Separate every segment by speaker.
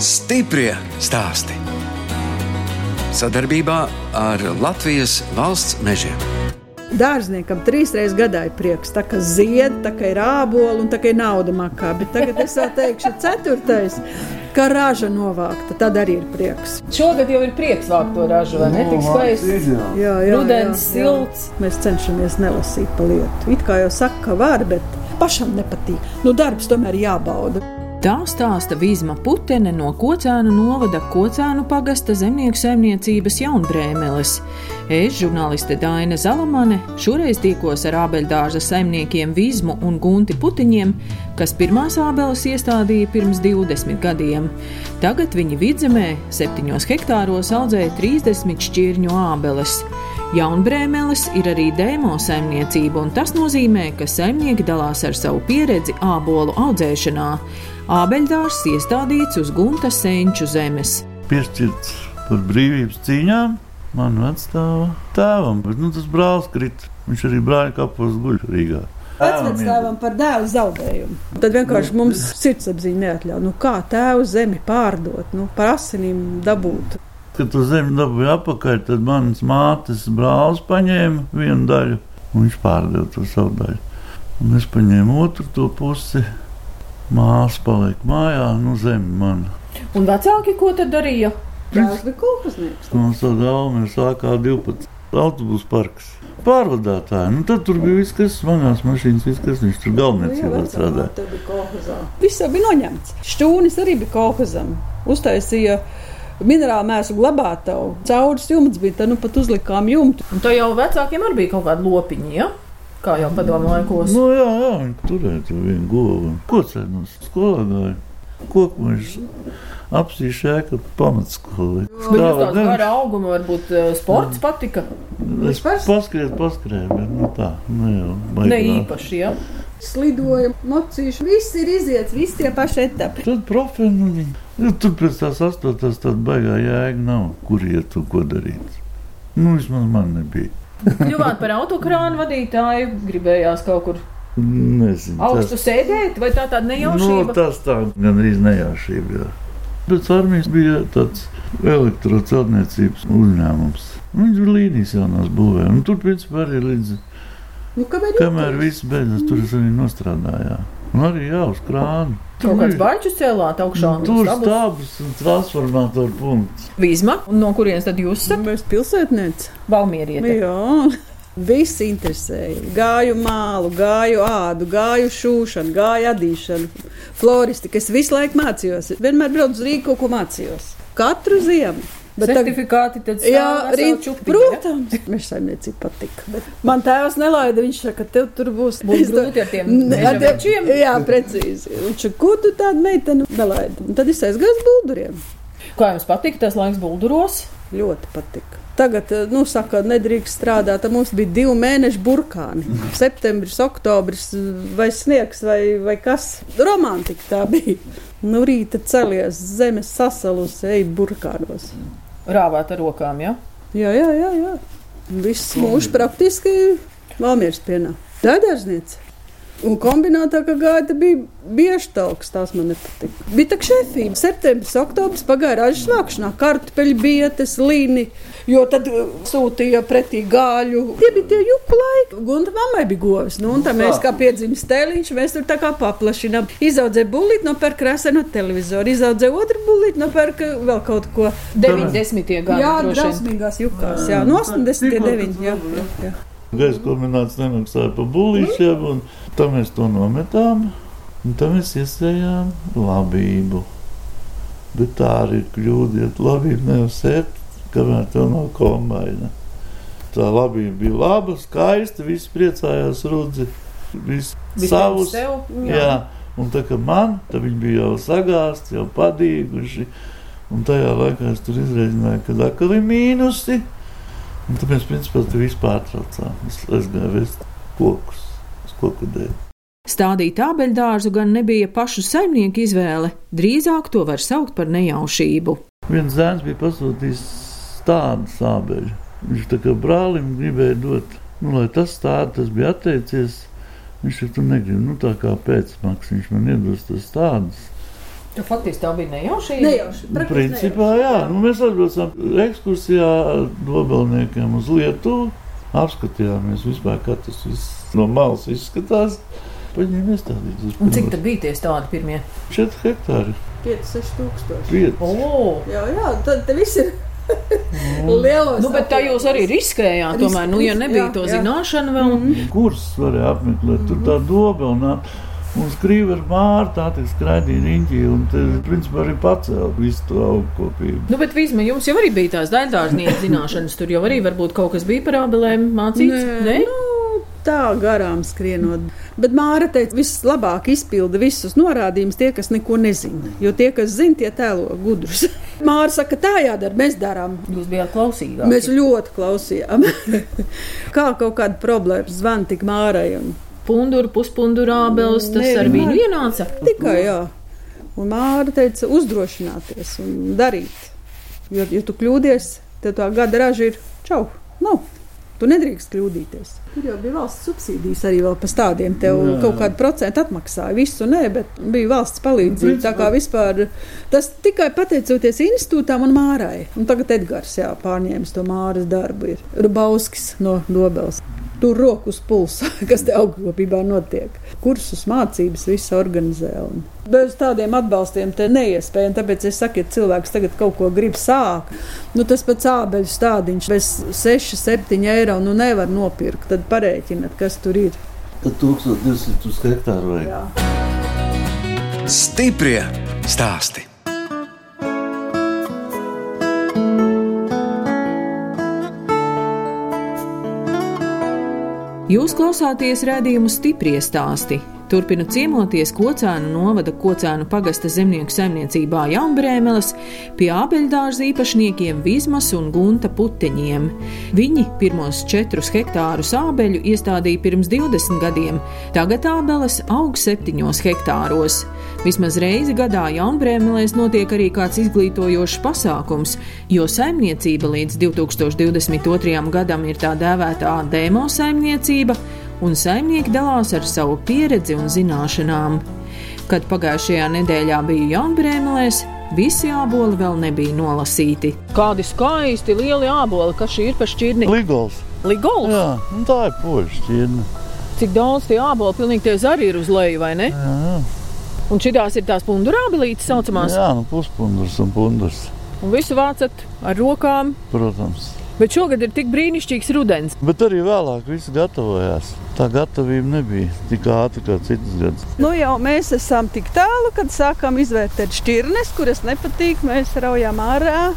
Speaker 1: Stiprie stāsti. Sadarbībā ar Latvijas valsts mežiem.
Speaker 2: Dārzniekam trīs reizes gadā ir prieks. Tā kā zied, tā kā ir ābola un tā kā ir nauda makā. Bet tagad es vēl teikšu, ceturtais. Kā raža novākta, tad arī ir prieks.
Speaker 3: Šogad jau ir prieks vākt to ražu, vai ne? Tik skaisti.
Speaker 2: Jā,
Speaker 3: Rudens silts.
Speaker 2: Mēs cenšamies nelasīt pa lietu. It kā jau saka, ka var, bet pašam nepatīk. Nu, darbs tomēr jābauda.
Speaker 4: Tā stāsta Vīsma Putene no Kocēnu novada Kocēnu pagasta zemnieku saimniecības jaunbrēmeles. Es, žurnāliste Daina Zalamane, šoreiz tikos ar abeļdārza saimniekiem Vīsmu un Gunti Putiņiem, kas pirmās abeles iestādīja pirms 20 gadiem. Tagad viņi vidzemē 7 hektāros audzēja 30 šķirņu abeles. Jaunbrēmeles ir arī dēmo saimniecība, un tas nozīmē, ka saimnieki dalās ar savu pieredzi ābolu audzēšanā. Ābeļdārs iestādīts uz gumta senču zemes.
Speaker 5: Piešķirts par brīvības cīņām. Man atstāja tēvam, bet nu, tas brālis krīt. Viņš arī brāļa kapos guļ Rīgā.
Speaker 2: Pats mēs stāvam par dēlu zaudējumu. Tad vienkārši mums sirdsapziņa neatļauj. Nu, kā tēvu zemi pārdot, nu, par asinīm dabūt?
Speaker 5: Kad to zemi dabūja apakaļ, tad manas mātes brālis paņēma vienu daļu, un viņš pārdeva to savu daļu. Un es paņēmu otru to pusi. Māsa paliek mājā, nu zemi man.
Speaker 3: Un vecāki ko tad darīja?
Speaker 2: Brālis bija kolekcionārs.
Speaker 5: Mums tā dāvana ir sākā 12. autobusu parks. Pārvadātāji, nu tad tur bija viss, kas smagās mašīnas, viss, kas viņš tur
Speaker 2: Nu
Speaker 5: galvenais jau strādāja.
Speaker 2: Viss jau bija noņemts. Šķūnis arī bija kolekcionārs. Uztaisīja minerālu mēslu glabātavu. Caurus jumts bija, tad nu pat uzlikām jumtu.
Speaker 3: Un to jau vecākiem arī bija kaut kāda lopiņa, ja? kā jau padomu laikos.
Speaker 5: Nu jā, jā, viņi turēja to vienu govu. nu Ko cēnos? Skolā gāja. Kokmeņš apsīšēja, ka pamatskolē.
Speaker 3: Bet jums tāds gara auguma, varbūt eh, sports patika?
Speaker 5: Es paskrēju, paskrēju, bet nu tā, nu jau. baigi
Speaker 3: Ne
Speaker 5: tā.
Speaker 3: īpaši, ja?
Speaker 2: Slidojam, mocīšu. Viss ir iziets, visi tie paši etapi.
Speaker 5: Tad profilizēji. Nu, tur pēc tās astotās tāda baigā jēga nav, kur iet un ko darīt. Nu, vismaz man nebija.
Speaker 3: Kļuvāt par autokrānu vadītāju, gribējās kaut kur
Speaker 5: Nezinu. tas-
Speaker 3: augstu sēdēt, vai tā tāda
Speaker 5: Nu,
Speaker 3: nejaušība?
Speaker 5: tas tā gandrīz nejaušība. Jā. Pēc armijas bija tāds elektroceltniecības uzņēmums. Viņš bija līnijas jaunās būvēm. Un Tur, principā, arī līdz
Speaker 2: Nu, kamēr
Speaker 5: kamēr viss beidzas, tur es arī nostrādāju. Un arī jā, uz krāna.
Speaker 3: Kaut kāds
Speaker 5: bija-
Speaker 3: baļķis cēlāt augšā. un
Speaker 5: Mm. Tur
Speaker 3: stabus.
Speaker 5: stāvus un transformatoru punkts.
Speaker 3: Vīzma, un no kurienes tad jūs esat?
Speaker 2: Mēs pilsētnieci.
Speaker 3: Valmierieti.
Speaker 2: Nu Jā. Viss interesēja. Gāju mālu, gāju ādu, gāju šūšanu, gāju adīšanu, floristiku. Es visu laiku mācījos. Vienmēr braucu uz Rīgu, ko mācījos. Katru ziemu. Bet tagad-
Speaker 3: Certifikāti tad
Speaker 2: Jā,
Speaker 3: arī
Speaker 2: rīt, protams, meža saimniecība patika. Bet man tēvs nelaida, viņš saka, ka tev tur būs
Speaker 3: Būs grūti ar tiem
Speaker 2: Mēģinājumiem. Jā, precīzi. Viņš saka, ko tu tādu meiteni nelaidi? Un tad es aizgāju uz bulduriem.
Speaker 3: Kā jums patīk tas laiks bulduros?
Speaker 2: Ļoti patika. Tagad, nu, saka, nedrīkst strādāt. Tad Mums bija divi mēneši burkāni. Septembris, oktobris, eh, vai sniegs, vai, vai kas. Romantika tā bija. Nu, rīta celies, zeme sasalusi, ej burkānos.
Speaker 3: Rāvāt ar rokām, ja?
Speaker 2: Jā, jā, jā. jā. Viss mūžs praktiski Valmīras pienā. Tā ir dārzniece. Un kombinācijā, ka gāja, bija bieži talks, tās man nepatika. Bija tā šefība. Septembris, oktobris pagāja ražas vākšanā, kartupeļu bietes, līni, jo tad uh, sūtīja pretī gāļu. Tie bija tie juku laiki. Gunta mammai bija govis. Nu, un tā mēs kā piedzimst tēliņš, mēs tur tā kā paplašinām. Izaudzē bulīt, nopērk krāsē no televizora. Izaudzē otru bulīt, nopērk uh, vēl kaut ko.
Speaker 3: 90.
Speaker 2: Jā,
Speaker 3: gadsimta.
Speaker 2: drausmīgās jukās. Jā, no 89. Jā, jā.
Speaker 5: Gaisa kombinācija nemaksāja par būlīšiem, un tam mēs to nometām. Un tam mēs iesējām labību. Bet tā arī ir kļūda, ja tu labību nevar sēt, kamēr tev nav kombaina. Tā labība bija laba, skaista, visi priecājās rudzi. Visi savus. Jā, un tā kā man, tad viņi bija jau sagāsti, jau padīguši. Un tajā laikā es tur izreikināju, ka atkal ir mīnusi. Un tad mēs principā tur vispār pārtraucām. Es aizgāju vest kokus, uz koku dēļ.
Speaker 4: Stādīt abeļdārzu gan nebija pašu saimnieku izvēle, drīzāk to var saukt par nejaušību.
Speaker 5: Viens zēns bija pasūtījis tādu sābeļu. Viņš tā kā brālim gribēja dot, nu, lai tas tāds, tas bija atteicies. Viņš jau tur negrib, nu tā kā pēcmaksas viņš man iedos tas tādas.
Speaker 3: Tu faktiski tev bija nejauši.
Speaker 2: Nejauši.
Speaker 5: Nu,
Speaker 2: praktiski
Speaker 5: Principā, jā, nu, mēs atbraucām ekskursijā ar dobelniekiem uz Lietuvu. Apskatījāmies vispār, kā tas viss no malas izskatās. Paņēmu
Speaker 3: Un cik
Speaker 5: iestādīt.
Speaker 3: tad bija tie tādi pirmie?
Speaker 5: 4 hektāri,
Speaker 2: nejauši. 5-6 tūkstoši.
Speaker 5: 5.
Speaker 3: O,
Speaker 2: Jā, jā, tad te viss ir lielos.
Speaker 4: Nu, bet tā jūs arī riskējāt.
Speaker 2: Risk-
Speaker 4: Tomēr, nu, ja
Speaker 2: risk,
Speaker 4: nebija
Speaker 2: jā,
Speaker 4: to
Speaker 2: jā. Mhm.
Speaker 4: zināšanu vēl,
Speaker 5: Kurs varēja apmeklēt,
Speaker 3: Mhm.
Speaker 5: tur tā dobelnā. Un skrīva ar mārtu, tā tik skraidīja riņķī, un tas, principā, arī pacēla visu to augkopību.
Speaker 4: Nu, bet vismaz jums jau arī bija tās daļdārzniecības zināšanas. Tur jau arī varbūt kaut kas bija par abelēm mācīts. Nē,
Speaker 2: Nu, tā garām skrienot. Bet Māra teica, vislabāk izpilda visus norādījumus tie, kas neko nezina. Jo tie, kas zina, tie tēlo gudrus. Māra saka, tā jādara, mēs darām.
Speaker 3: jūs bijāt klausīgāki.
Speaker 2: Mēs ļoti klausījām. Kā kaut kāda problēma zvana tik Mārai. Un...
Speaker 4: pundura, puspundura abeles, tas
Speaker 2: Nē,
Speaker 4: ar vienu
Speaker 2: vienmēr.
Speaker 4: ienāca.
Speaker 2: Tikai jā. Un Māra teica, uzdrošināties un darīt. Jo, ja tu kļūdies, tad tā gada raža ir čau. Nav. Tu nedrīkst kļūdīties. Tur jau bija valsts subsīdijas arī vēl par tādiem. Tev
Speaker 5: Jā,
Speaker 2: jā.
Speaker 5: jā.
Speaker 2: kaut kādu procentu atmaksāja. Visu nē, bet bija valsts palīdzība. Tā kā
Speaker 5: Principā-
Speaker 2: vispār tas tikai pateicoties institūtām un mārai. Un tagad Edgars jā, pārņēmis to māras darbu. Ir Rubauskis no Dobels. Tur roku uz pulsa, kas te augstopībā notiek. Kursus, mācības, visu organizē. Un bez tādiem atbalstiem te neiespējami. Tāpēc es saku, ja cilvēks tagad kaut ko grib sākt, nu tas pats ābeļu stādiņš bez 6, 7 eiro nu nevar nopirkt. Tad parēķiniet, kas tur ir.
Speaker 5: Tad 1200 hektāru vajag.
Speaker 1: Stiprie stāsti.
Speaker 4: Jūs klausāties redzējumu stipri stāstī. Turpinu ciemoties Kocēnu novada Kocēnu pagasta zemnieku saimniecībā Jaunbrēmeles pie abeļdārza īpašniekiem Vizmas un Gunta puteņiem. Viņi pirmos četrus hektārus ābeļu iestādīja pirms 20 gadiem, tagad ābeles aug septiņos hektāros. Vismaz reizi gadā Jaunbrēmelēs notiek arī kāds izglītojošs pasākums, jo saimniecība līdz 2022. gadam ir tā dēvētā demo saimniecība, un saimnieki dalās ar savu pieredzi un zināšanām. Kad pagājušajā nedēļā biju Jaunbrēmelēs, visi āboli vēl nebija nolasīti. Kādi skaisti lieli āboli, kas šī ir pašķirni?
Speaker 5: Ligols.
Speaker 4: Ligols,
Speaker 5: Jā, nu tā ir pošķina.
Speaker 4: cik daudz tie āboli, pilnīgi tie zari ir uz leju, vai ne?
Speaker 5: Jā, jā.
Speaker 4: Un šitās ir tās pundurābelītes saucamās.
Speaker 5: jā nu puspundurs un pundurs.
Speaker 4: un visu vācat ar rokām.
Speaker 5: Protams.
Speaker 4: Bet šogad ir tik brīnišķīgs rudens.
Speaker 5: Bet arī vēlāk viss gatavojās. Tā gatavība nebija tik ātra kā citas gadus.
Speaker 2: Nu, jau mēs esam tik tālu, kad sākām izvērtēt šķirnes, kuras nepatīk. Mēs raujām ārā.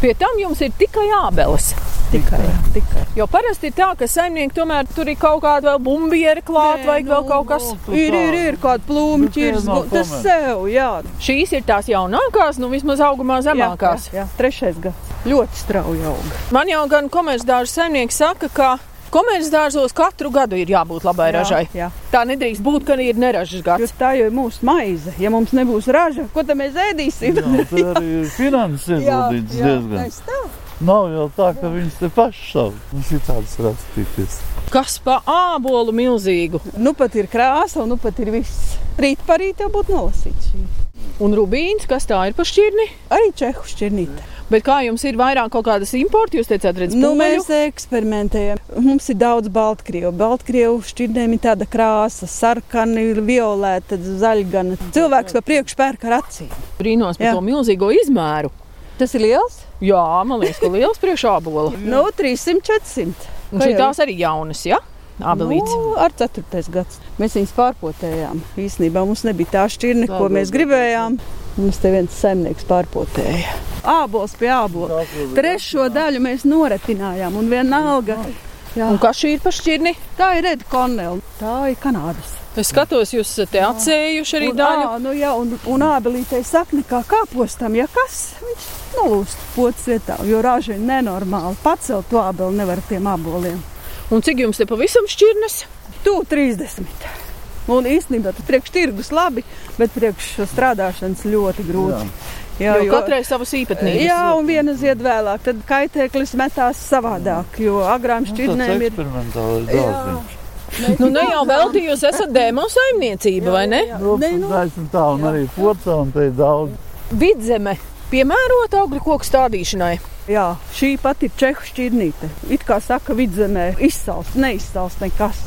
Speaker 4: Pie tam jums ir tikai ābeles.
Speaker 2: Tikai, tikai.
Speaker 4: Jo parasti ir tā, ka saimnieki tomēr tur ir kaut kāda vēl bumbiera klāta vai
Speaker 2: nu,
Speaker 4: vēl kaut kas. Nu,
Speaker 2: Ir, ir, ir kāda plūma,
Speaker 5: Bet tie
Speaker 2: ķirzis.
Speaker 5: nav
Speaker 2: Tas
Speaker 5: komēdi.
Speaker 2: sev, jā.
Speaker 4: Šīs ir tās jaunākās, nu vismaz augumā zemākās.
Speaker 2: Jā, jā, jā. Trešais gads. Ļoti strauji aug.
Speaker 4: Man jau gan komercdārza saimnieks saka, ka komercdārzos katru gadu ir jābūt labai jā. ražai.
Speaker 2: Jā, jā.
Speaker 4: Tā nedrīkst būt, ka ir neražas
Speaker 2: Jo
Speaker 4: gads.
Speaker 2: tā jau ir mūsu maize. Ja mums nebūs raža, ko tad mēs ēdīsim?
Speaker 5: Tur arī ir finanses ieguldīts diezgan.
Speaker 2: tas tā.
Speaker 5: Nav jau tā, ka viņas te pašas savu. Mums ir tādas rakstītas.
Speaker 4: Kas pa ābolu milzīgu?
Speaker 2: Nu pat ir krāsa, un nu pat ir viss. Rīt parīt jau būtu nolasīts. šī.
Speaker 4: Un rubīns, kas tā ir pašķirni?
Speaker 2: Arī čehu šķirnīte.
Speaker 4: Bet kā jums ir vairāk kaut kādas importu, jūs teicāt, redzat,
Speaker 2: Nu, mēs eksperimentējam. Mums ir daudz baltkrievu. Baltkrievu šķirnēm ir tāda krāsa, sarkana, violēta, zaļgana. Cilvēks pa priekšu pērk ar acīm.
Speaker 4: brīnos par
Speaker 2: Jā.
Speaker 4: to milzīgo izmēru.
Speaker 2: Tas ir liels?
Speaker 4: Jā, man liekas, ka liels priekšābola.
Speaker 2: No 300, 400.
Speaker 4: Un
Speaker 2: Kā
Speaker 4: šī
Speaker 2: jau
Speaker 4: tās arī jaunas, ja? Abelīts.
Speaker 2: Nu, ar 4. gadsimtu mēs viņus pārpotējām. Īsnībā mums nebija tā šķirne, ko mēs gribējām. Mums te viens saimnieks pārpotēja. Ābols pie ābola. Trešo daļu mēs noretinājām un vienalga. Jā.
Speaker 4: Un kas šī ir pašķirni?
Speaker 2: Tā ir Reda Konela. Tā ir Kanādas.
Speaker 4: Es skatos, jūs esat te atcējuši arī
Speaker 2: Un,
Speaker 4: daļu.
Speaker 2: ā, nu, jā, un, un ābelītei sakne kā kāpostam, ja kas, viņš nolūst pocis vietā, jo rāža ir nenormāli. Pacelt to ābeli nevar ar tiem āboliem.
Speaker 4: Un cik jums te pavisam šķirnes?
Speaker 2: Tu 30. Un īstenībā tas priekš tirgus labi, bet priekš strādāšanas ļoti grūti. Jā,
Speaker 4: Jo, jo katrai savas īpatnības.
Speaker 2: Jā, un viena zied vēlāk, tad kaitēklis metās savādāk, jo agrām
Speaker 5: Nu, tāds
Speaker 2: šķirnēm ir.
Speaker 5: eksperimentāls dārziņš.
Speaker 4: Nu, ne jau velti, jūs esat dēmo saimniecība, vai ne?
Speaker 6: Nē, nu.
Speaker 5: Taisn tā, un arī porcelāna un te ir daudz.
Speaker 4: Vidzeme piemērota augļu koku stādīšanai.
Speaker 6: Jā, šī pati ir cehu šķirnīte. It kā saka, vidzemē izsals, neizsals nekas.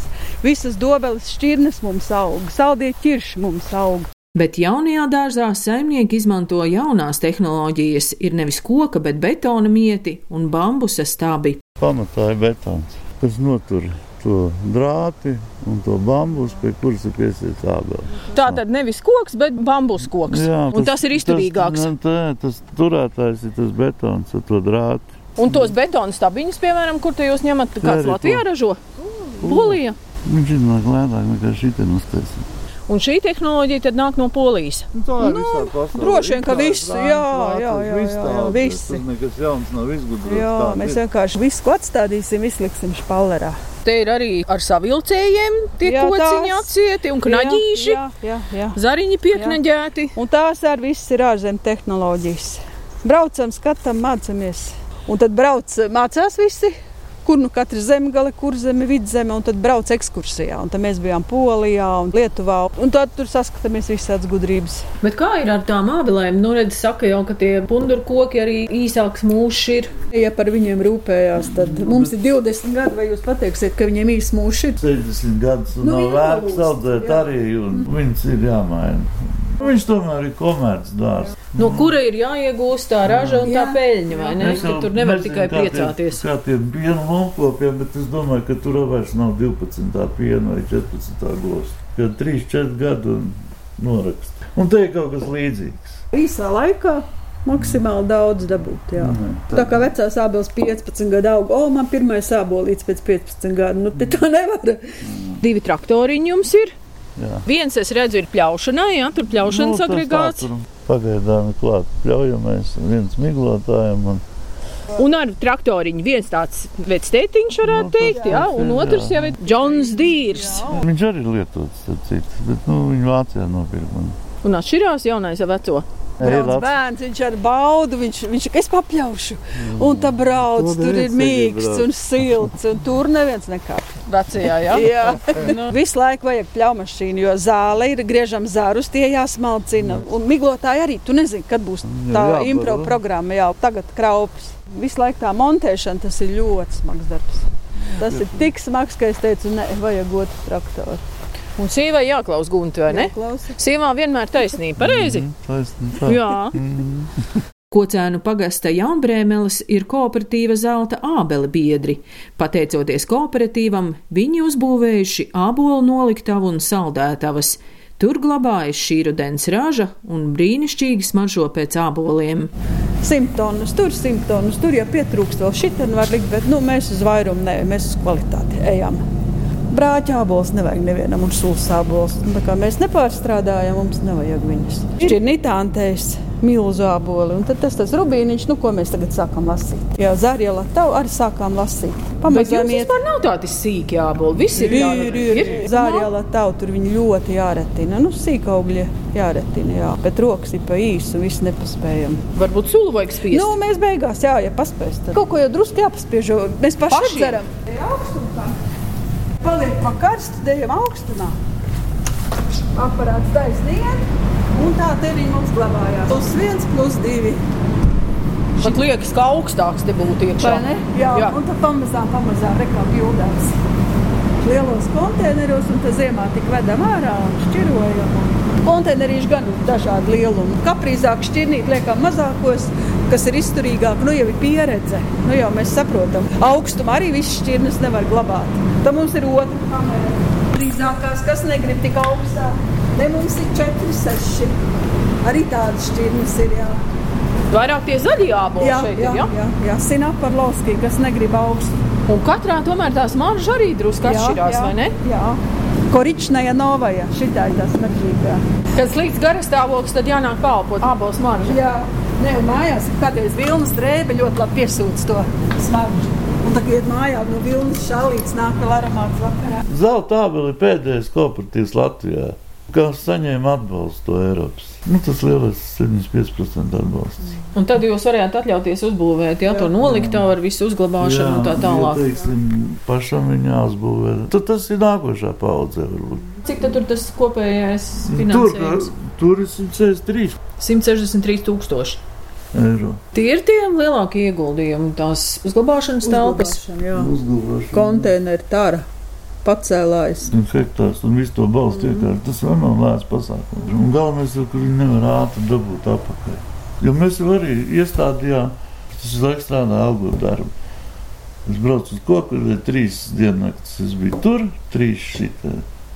Speaker 6: Visas dobeles šķirnes mums aug, saldie ķirši mums aug.
Speaker 4: Bet jaunajā dārzā saimnieki izmanto jaunās tehnoloģijas, ir nevis koka, bet betona mieti un bambusa stabi.
Speaker 5: Pamatā ir betons, kas notur to drāti un to bambus, pie kuras ir piesiet ābeli.
Speaker 4: Tā tad nevis koks, bet bambus koks. un tas, ir izturīgāks.
Speaker 5: Tas, nē, tas turētājs ir tas betons ar to drāti.
Speaker 4: Un tos betona stabiņus, piemēram, kur te jūs ņemat,
Speaker 5: Arī
Speaker 4: kāds
Speaker 5: to. Mm.
Speaker 4: Latvijā ražo? Polija.
Speaker 5: Viņš ir nāk lētāk nekā šī te nostēsim.
Speaker 4: Un šī tehnoloģija tad nāk no Polijas.
Speaker 5: Nu, Tā ir visā pasaulē.
Speaker 6: Nu, droši vien, ka Itāļi, visi, franči, jā, vācieši, jā, jā, viss jā, jā, tāds, visi. tas
Speaker 5: Nekas jauns nav izgudrots.
Speaker 2: Jā, mēs vienkārši visu atstādīsim, izliksim špallerā.
Speaker 4: Te ir arī ar savilcējiem tie
Speaker 2: Jā,
Speaker 4: kociņi
Speaker 2: tās.
Speaker 4: atsieti un knaģīši.
Speaker 2: Jā, jā, jā.
Speaker 4: Zariņi pieknaģēti.
Speaker 2: Un tās arī viss ir ārzemju tehnoloģijas. Braucam, skatām, mācāmies.
Speaker 6: Un tad brauc, mācās visi, kur nu katra zemgale, kur zeme, vidzeme, un tad brauc ekskursijā. Un tad mēs bijām Polijā un Lietuvā, un tad tur saskatāmies visādas gudrības.
Speaker 7: Bet kā ir ar tām abelēm? Nu, redz, saka jau, ka tie pundurkoki arī īsāks mūžs ir.
Speaker 6: Ja par viņiem rūpējās, tad mums ir 20 gadi, vai jūs pateiksiet, ka viņiem īsti mūši ir?
Speaker 5: 70 gadus un
Speaker 6: Nu,
Speaker 5: nav
Speaker 6: jā,
Speaker 5: vērts
Speaker 6: lūdzu,
Speaker 5: audzēt
Speaker 6: jā.
Speaker 5: arī, un viņas ir jāmaina. Nu, Viņš tomēr ir komerces dārs.
Speaker 7: No kura ir jāiegūst tā raža un tā
Speaker 6: Jā.
Speaker 7: peļņa, vai ne?
Speaker 5: Mēs
Speaker 7: Ka
Speaker 5: jau
Speaker 7: Tur nevar
Speaker 5: nezinu,
Speaker 7: tikai
Speaker 5: kā tie-
Speaker 7: priecāties.
Speaker 5: Kā tie piena lopkopiem, bet es domāju, ka tur vairs nav 12. piena vai 14. gos. Kad 3-4 gadu un norakst. Un te ir kaut kas līdzīgs.
Speaker 6: Īsā laikā maksimāli daudz dabūt. Jā.
Speaker 5: Mhm.
Speaker 6: Tā kā vecā sābols 15 gadu auga, o, man pirmā sābolīts pēc 15 gadiem. Nu, te tā nevar.
Speaker 4: Divi traktoriņi jums ir.
Speaker 5: Jā. Nu,
Speaker 4: Viens, es redzu, ir pļaušanai, jā, tur pļaušanas
Speaker 5: tas
Speaker 4: agregāts.
Speaker 5: tā tur Pagaidām ir klāts pļaujamais, un viens miglotājiem. Un...
Speaker 4: Un ar traktoriņu viens tāds vecstētiņš varētu
Speaker 5: Nu, tas
Speaker 4: teikt, jā,
Speaker 5: tas
Speaker 4: un
Speaker 5: ir,
Speaker 4: otrs
Speaker 5: jā.
Speaker 4: jau ir Džons Dīrs.
Speaker 5: Viņš arī ir lietots, starp citu, bet nu, viņu Vācijā nopirka. un-
Speaker 4: Un atšķirās jaunais ar veco.
Speaker 5: Ei,
Speaker 2: Brauc
Speaker 5: labs.
Speaker 2: bērns, viņš ar baudu, viņš, viņš es papļaušu. Un tā brauc,
Speaker 5: To
Speaker 2: tur ir
Speaker 5: neviens negrib
Speaker 2: mīksts
Speaker 5: braukt.
Speaker 2: un silts, un tur neviens nekāp.
Speaker 4: Vecajā, jā. Nu.
Speaker 2: Jā, visu laiku vajag pļaumašīnu, jo zāle ir, griežam zārus, tie jāsmalcina. Un miglotāji arī, tu nezini, kad būs tā
Speaker 5: Jā, jā,
Speaker 2: impro
Speaker 5: jā.
Speaker 2: programma, jau tagad kraupas. Visu laiku tā montēšana, tas ir ļoti smags darbs. Tas ir tik smags, ka es teicu, ne, vajag otru traktoru.
Speaker 4: Un sievai jāklaus gunti, vai ne?
Speaker 2: Klausi.
Speaker 4: Sievā vienmēr taisnība, pareizi?
Speaker 5: Taisnība, Mm, nu,
Speaker 4: Mm.
Speaker 5: tā. Mm.
Speaker 4: Jā. Kocēnu pagasta Jaunbrēmelis ir kooperatīva zelta ābele biedri. Pateicoties kooperatīvam, viņi uzbūvējuši ābolu noliktavu un saldētavas. Tur glabājas šī rudens raža un brīnišķīgi smaržo pēc āboliem.
Speaker 2: Simptomas, tur simptomas, tur jau pietrūkst vēl šī tā, var likt, bet nu, mēs uz vairumu nē, mēs uz kvalitāti ejam. Brāķa abolis nevajag nevienam, un sūkļa abolis. Un tā kā Mēs nepārstrādājam, mums nevajag viņas. Šķirnītāntēs, milzu aboli, un tad tas, tas rubīniņš, nu, ko mēs tagad sākam lasīt. Jā, zārjala tavu arī sākām lasīt.
Speaker 7: Bet jums
Speaker 2: Pamazām iet.
Speaker 7: vispār nav tādi sīki āboli. Viss ir
Speaker 2: Ir, ir, ir.
Speaker 7: jānodrošina.
Speaker 2: Zārielā tau tur viņi ļoti jāretina. Nu, sīkaugļi jāretina, jā. Bet rokas ir pa īsu, viss nepaspējam.
Speaker 7: Varbūt sulu vajag spiest.
Speaker 2: Nu, mēs beigās, jā, ja paspēsim. Tad. Kaut ko jau drusku jāpaspiež, jo mēs paši
Speaker 7: Pašiem?
Speaker 2: dzeram. Paliek pa karstu, dejam augstumā. Aparāts taisnien, un tā te viņi mums glabājās. Plus viens, plus divi.
Speaker 7: Pat liekas, ka augstāks te būtu iekšā.
Speaker 2: Vai ne? Jā,
Speaker 7: Jā.
Speaker 2: jā. un tad pamazām, pamazām rekā pildās. Lielos konteineros, un tā ziemā tik vedam ārā un šķirojam. Konteinerīši gan ir dažādi lielumi. Kaprīzāk šķirnīt liekam mazākos, kas ir izturīgāk. Nu jau ir pieredze, nu jau mēs saprotam. Augstumā arī viss šķirnes nevar glabāt. Tad mums ir otra kamera. Drīzākās, kas negrib tik augstā. Ne mums ir četri, seši. Arī tādas šķirnes ir, jā.
Speaker 7: Vairāk tie zaļie āboli
Speaker 2: Jā,
Speaker 7: šeit
Speaker 2: jā,
Speaker 7: ir. Jā?
Speaker 2: jā, jā. Sinaparlovski, kas negrib augstu.
Speaker 7: Un katrā tomēr tās maržas arī drusku atšķirās, vai ne?
Speaker 2: Jā. Koričnaja novaja, šitā ir tā smaržīgā.
Speaker 7: Kad slīd garas stāvoklis, tad jānāk kalpot abos maržas.
Speaker 2: Jā, ne, un mājās kādreiz vilnas drēbe ļoti labi piesūc to smaržu. Un tagad iet mājā, nu vilnas šalīts nāk vēl aramāts vakarā.
Speaker 5: Zelta abeli ir pēdējais kooperatīvs Latvijā. kā saņēma atbalstu no Eiropas. Nu, tas lielais 75% atbalsts.
Speaker 4: Un tad jūs varējāt atļauties uzbūvēt, jā, to noliktavu ar visu uzglabāšanu un nu tā tālāk.
Speaker 5: Ja, teiksim, pašam viņa uzbūvē. Tad tas ir nākošā paudze. varbūt.
Speaker 4: Cik tad tur tas kopējais
Speaker 5: Tur,
Speaker 4: finansējums?
Speaker 5: tur ir 163
Speaker 4: 163 tūkstoši.
Speaker 5: eiro.
Speaker 4: Tie ir tie lielākie ieguldījumi, tās uzglabāšanas telpas.
Speaker 2: Uzglabāšana, jā.
Speaker 5: Uzglabāšana.
Speaker 2: Konteineru tāra pacēlājas.
Speaker 5: Un hektārs un visu to balstu iekārtu. Tas vēl nav lēts pasākums. Un galvenais ir, ka viņi nevar ātri dabūt apakā. Jo mēs jau arī iestādījām, tas ir laiks strādā algu darbu. Es braucu uz koku, tur bija trīs diennaktis. Es biju tur, trīs šitā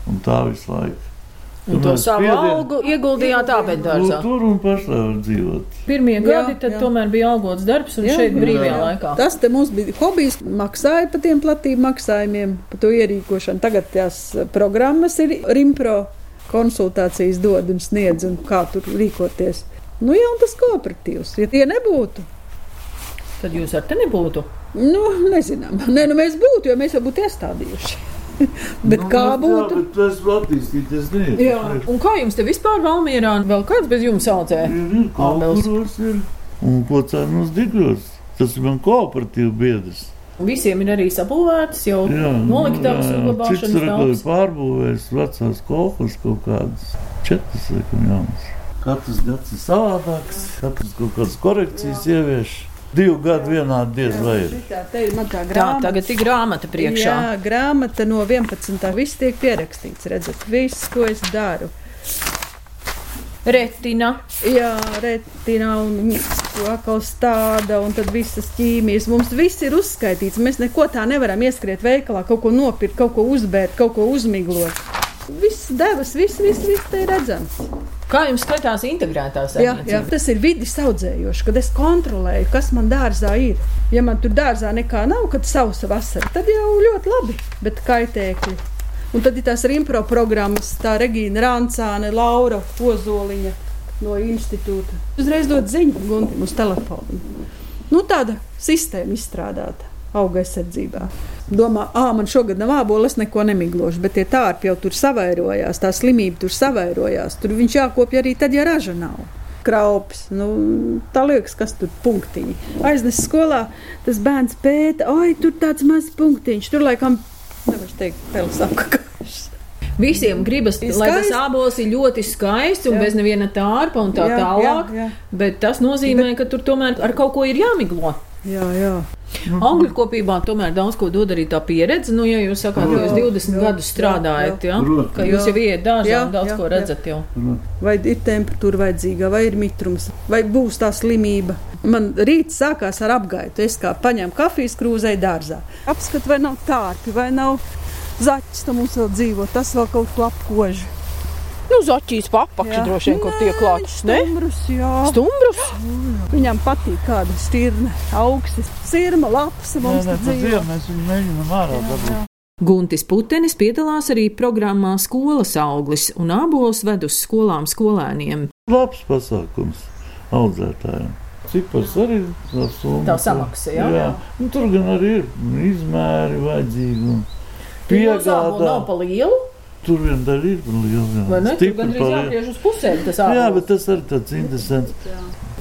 Speaker 5: un tā visu laiku.
Speaker 4: Un to
Speaker 5: Mēs
Speaker 4: savu
Speaker 5: spiedien-
Speaker 4: algu ieguldījāt
Speaker 5: Nu,
Speaker 4: abeldārzā.
Speaker 5: tur un pašā var dzīvot.
Speaker 4: Pirmie gadi tad
Speaker 2: jā.
Speaker 4: tomēr bija algots darbs un
Speaker 2: Jā,
Speaker 4: šeit
Speaker 2: jā.
Speaker 4: brīvajā laikā.
Speaker 2: Tas te mums bija hobijs. Maksāja par tiem platību maksājumiem, par to ierīkošanu. Tagad tās programmas ir Rimpro konsultācijas dod un sniedz, un kā tur rīkoties. Nu, jā, un tas kooperatīvs. Ja tie nebūtu,
Speaker 4: Tad jūs ar te nebūtu.
Speaker 2: nu, nezinām. Nē, nu mēs būtu, jo mēs jau būtu iestādījuši. bet nu, kā
Speaker 5: nu,
Speaker 2: būtu?
Speaker 5: Jā, bet tas var attīstīties. Nē, tas
Speaker 4: Un kā jums te vispār Valmierā vēl kāds bez jums audzē?
Speaker 5: ir- ir
Speaker 4: Abels.
Speaker 5: kalkuros, ir. Un ko cēnos digros? Tas ir man kooperatīva biedrs.
Speaker 4: Visiem ir arī sabūvētas jau noliktavas
Speaker 5: Cits
Speaker 4: uzglabāšanas telpas.
Speaker 5: rekords pārbūvējis vecās kolekcijas kaut kādas četras, laikam, jaunas. Katrs gads ir savādāks, katrs kaut kādas korekcijas ievieš. Divu gadu vienā diez vai ir.
Speaker 2: Šitā te ir man tā
Speaker 4: Tā,
Speaker 2: grāmata.
Speaker 4: tagad ir grāmata priekšā.
Speaker 2: Jā, grāmata no 11. Viss tiek pierakstīts. Redzat, viss, ko es daru.
Speaker 4: Retina.
Speaker 2: Jā, retinā un kakls tāda, un tad visas ķīmijas. Mums viss ir uzskaitīts. Mēs neko tā nevaram ieskriet veikalā, kaut ko nopirkt, kaut ko uzbērt, kaut ko uzmiglot. Viss devas, viss, viss, viss te ir redzams.
Speaker 4: Kā jums skatās integrētās
Speaker 2: Jā, jā. Tas ir vidus audzējoši, kad es kontrolēju, kas man dārzā ir. Ja man tur dārzā nekā nav, kad sausa vasara, tad jau ļoti labi, bet kaitēkļi. Un tad ir tās rimpro programmas, tā Regīna Rāncāne, Laura Ozoliņa no institūta. Uzreiz dod ziņu Guntim uz telefonu. Nu, tāda sistēma izstrādāta auga aizsardzībā. Domā, ah, man šogad nav āboles, neko nemiglošu, bet tie tārpi jau tur savairojās, tā slimība tur savairojās. Tur viņš jākopja arī tad, ja raža nav. Kraupis, nu, tā liekas, kas tur punktiņi. Aiznes skolā, tas bērns pēta, oi, tur tāds mazs punktiņš, tur laikam, nevaru teikt, pelis apkakās.
Speaker 4: Visiem gribas,
Speaker 2: Ir
Speaker 4: lai tas
Speaker 2: skaisti.
Speaker 4: sābols ir ļoti skaists un jā.
Speaker 2: Jā.
Speaker 4: bez neviena tārpa un tā jā,
Speaker 2: Jā,
Speaker 4: tālāk. Jā,
Speaker 2: jā,
Speaker 4: jā. Bet tas nozīmē, ka tur tomēr ar kaut ko ir jāmiglo.
Speaker 2: Jā, jā.
Speaker 4: Angļu kopībā tomēr daudz ko dod arī tā pieredze. Nu, ja jūs sakāt, ka jūs 20
Speaker 2: jā,
Speaker 4: gadus strādājat, jā,
Speaker 5: Protams.
Speaker 4: ka jūs
Speaker 2: Jā.
Speaker 4: jau ieiet dārzā
Speaker 2: Jā,
Speaker 4: un daudz
Speaker 2: jā,
Speaker 4: ko
Speaker 2: jā.
Speaker 4: redzat jau.
Speaker 2: Vai ir temperatūra vajadzīga, vai ir mitrums, vai būs tā slimība. Man rīts sākās ar apgaitu. Es kā paņēmu kafijas krūzē dārzā. Apskatu, vai nav tārpi, vai nav zaķis, tam mums vēl dzīvo. Tas vēl kaut ko apkož.
Speaker 8: Nu, zaķis papakšķi droši vien, kur tiek klāts. Ne?
Speaker 2: Stumbrus, jā.
Speaker 8: Stumbrus?
Speaker 2: Viņam patīk kāda stirna, augsts, sirma, lapas. Mums tā
Speaker 5: Nē, nē, tas
Speaker 2: dzīvo.
Speaker 5: ir, mēs viņu mēģinām ārā dabūt.
Speaker 9: Guntis Putenis piedalās arī programmā Skolas auglis un abos ved uz skolām skolēniem.
Speaker 5: Labs pasākums audzētājiem. Cipars arī labs. un-
Speaker 4: Tā samaksa, jā?
Speaker 5: jā. Nu, tur gan arī ir izmēri vajadzīgi. un
Speaker 4: Jūs ābolu Nav
Speaker 5: Piegādā.
Speaker 4: pa lielu,
Speaker 5: Tur vien daļa ir liela.
Speaker 4: vai ne? Tur
Speaker 5: stipri
Speaker 4: gandrīz
Speaker 5: paliek.
Speaker 4: jāgriež uz pusēm tas ābols.
Speaker 5: Jā, bet tas arī tāds interesants.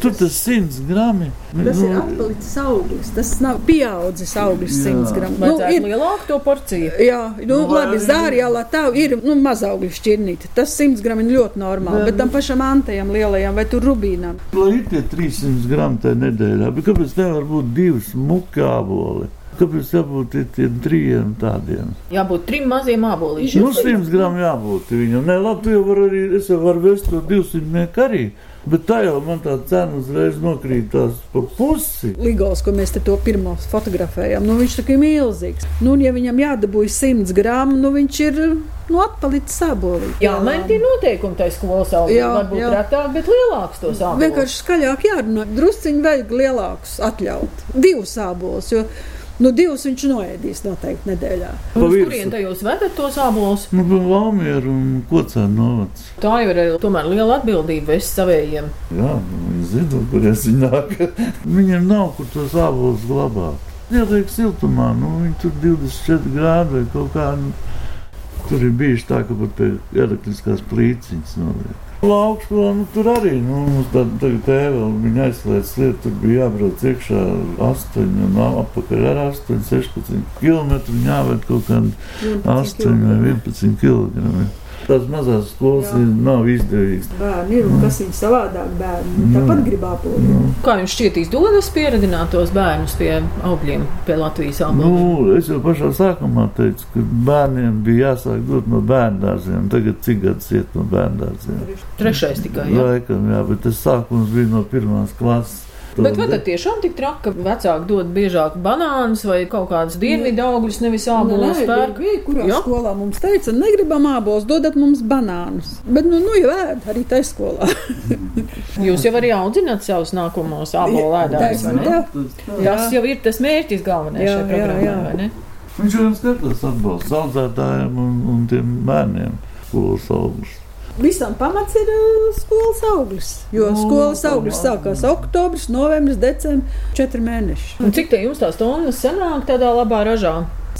Speaker 5: Tur tas simts Nu, gramu.
Speaker 2: Tas ir atpalicis augsts. Tas nav pieaudzis augsts
Speaker 5: Jā.
Speaker 2: 100 gramu.
Speaker 4: Nu, ir
Speaker 2: ir-
Speaker 4: lielāka to porcija.
Speaker 2: Jā, nu,
Speaker 5: Nu,
Speaker 2: nu,
Speaker 5: vai
Speaker 2: labi,
Speaker 5: arī-
Speaker 2: zārā jau tā ir nu, mazaugļu šķirnīte. Tas 100 gramu ir ļoti normāli. Bet
Speaker 4: nu.
Speaker 2: tam pašam antajam lielajam vai tur rubīnam.
Speaker 5: Lai ir tie 300 gramu tajā nedēļā, bet kāpēc nevar būt divi smuki āboli? Kāpēc jābūt tie- tiem trijiem tādiem?
Speaker 4: Jābūt trim maziem ābolīšiem.
Speaker 5: Nu, 100 gramu jābūt viņam. Nē, labi, tu jau var arī, es jau varu vest to 200 mieku arī, bet tā jau man tā cena uzreiz nokrītās pa pusi.
Speaker 2: Ligos, ko mēs te to pirmo fotografējām, nu, viņš taču ir milzīgs. Nu, un ja viņam jādabūj 100 gramu, nu, viņš ir nu, atpalicis sabolīt.
Speaker 4: Jā, man tie noteikumi tai skolas augļi.
Speaker 2: Jā,
Speaker 4: Varbūt
Speaker 2: jā.
Speaker 4: retāk, bet lielāks tos ābolus.
Speaker 2: Vienkārši skaļāk jārunā. Drusciņi vajag lielākus atļaut. Divus sābolus, jo nu, divus viņš noēdīs noteikti nedēļā.
Speaker 5: Pa
Speaker 4: Uz
Speaker 5: virsu.
Speaker 4: Nu, kurien tajos vedat tos ābolus?
Speaker 5: Nu, pa Valmieru un Kocēnu novads.
Speaker 4: Tā jau ir eh, tomēr liela atbildība es savējiem.
Speaker 5: Jā, nu, viņi zina, no kurienes viņi nāk. Viņiem nav kur tos abolus glabāt. Ieliek siltumā, nu viņi tur 24 grādi vai kaut kā. nu, Tur ir bijuši tā, ka pat pie elektriskās plīciņas noliek. Laukšā nu, tur arī nu, mums tāda tagad tēvela, viņa aizslēdz lietu, tur bija jābrauc iekšā 8 un apakaļ ar 8, 16 km, un jāved kaut kādu
Speaker 2: Nu,
Speaker 5: 8 vai 11 km. Tās mazās skolas ir- nav izdevīgas.
Speaker 10: Bērni ir un kas viņa savādāk bērni. Nu, Tāpat grib apgūt.
Speaker 5: Nu,
Speaker 4: Kā jums šķiet, izdodas pieredzināt tos bērnus pie augļiem, pie Latvijas augļiem?
Speaker 5: Nu, es jau pašā sākumā teicu, ka bērniem bija jāsāk dot no bērngārziem. Tagad cik gads iet no bērngārziem?
Speaker 4: Trešais tikai. Jā.
Speaker 5: Laikam, jā, bet tas sākums bija no pirmās klases.
Speaker 4: Bet
Speaker 5: nu,
Speaker 4: vai tad tiešām tik traki, ka vecāki dod biežāk banānus vai kaut kādas dienvidu augļus, nevis
Speaker 2: Nu,
Speaker 4: ābolus pērk?
Speaker 2: bija, kurā
Speaker 4: Jā.
Speaker 2: jo? skolā mums teica, negribam ābolus, dodat mums banānus. Bet, nu, nu jau ēd arī tajā skolā.
Speaker 4: Jūs jau arī audzināt savus nākamos ābolu ēdājus, vai
Speaker 2: Taisnība.
Speaker 4: ne?
Speaker 2: Jā.
Speaker 4: Tas jau ir tas mērķis galvenais
Speaker 2: Jā, jā,
Speaker 4: šajā programmā,
Speaker 2: jā.
Speaker 4: vai ne?
Speaker 5: Viņš jau skatās atbalstu audzētājiem un, un tiem bērniem, skolas augļus.
Speaker 2: Visam pamats ir uh, skolas auglis. Jo
Speaker 5: Nu,
Speaker 2: skolas
Speaker 5: tā
Speaker 2: auglis
Speaker 5: labi.
Speaker 2: sākās oktobris, novembris, decembris, 4 mēneši.
Speaker 4: Un cik te jums tās tonnas senāk tādā labā ražā?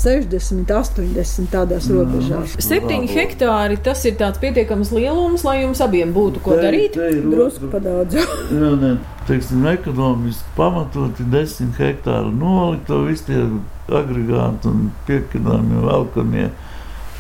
Speaker 2: 60, 80 tādās robežās.
Speaker 4: Septiņi hektāri tas ir tāds pietiekams lielums, lai jums abiem būtu ko darīt.
Speaker 2: Drusku padaudz.
Speaker 5: Jā, nē, teiksim, ekonomiski pamatoti desmit hektāru nolikt, to visu tie agregāti un piekidāmie velkanie,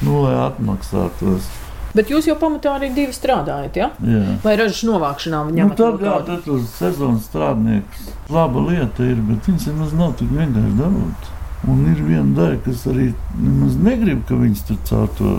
Speaker 5: nu, lai atmaksātos.
Speaker 4: Bet jūs jau pamatā arī divi strādājat, ja?
Speaker 5: Jā.
Speaker 4: Vai ražas novākšanā
Speaker 5: Nu,
Speaker 4: viņam
Speaker 5: tad, jā, tad uz sezonas strādnieks laba lieta ir, bet viņas nemaz nav tik vienkārši dabūt. Un ir viena daļa, kas arī nemaz negrib, ka viņas tur caur to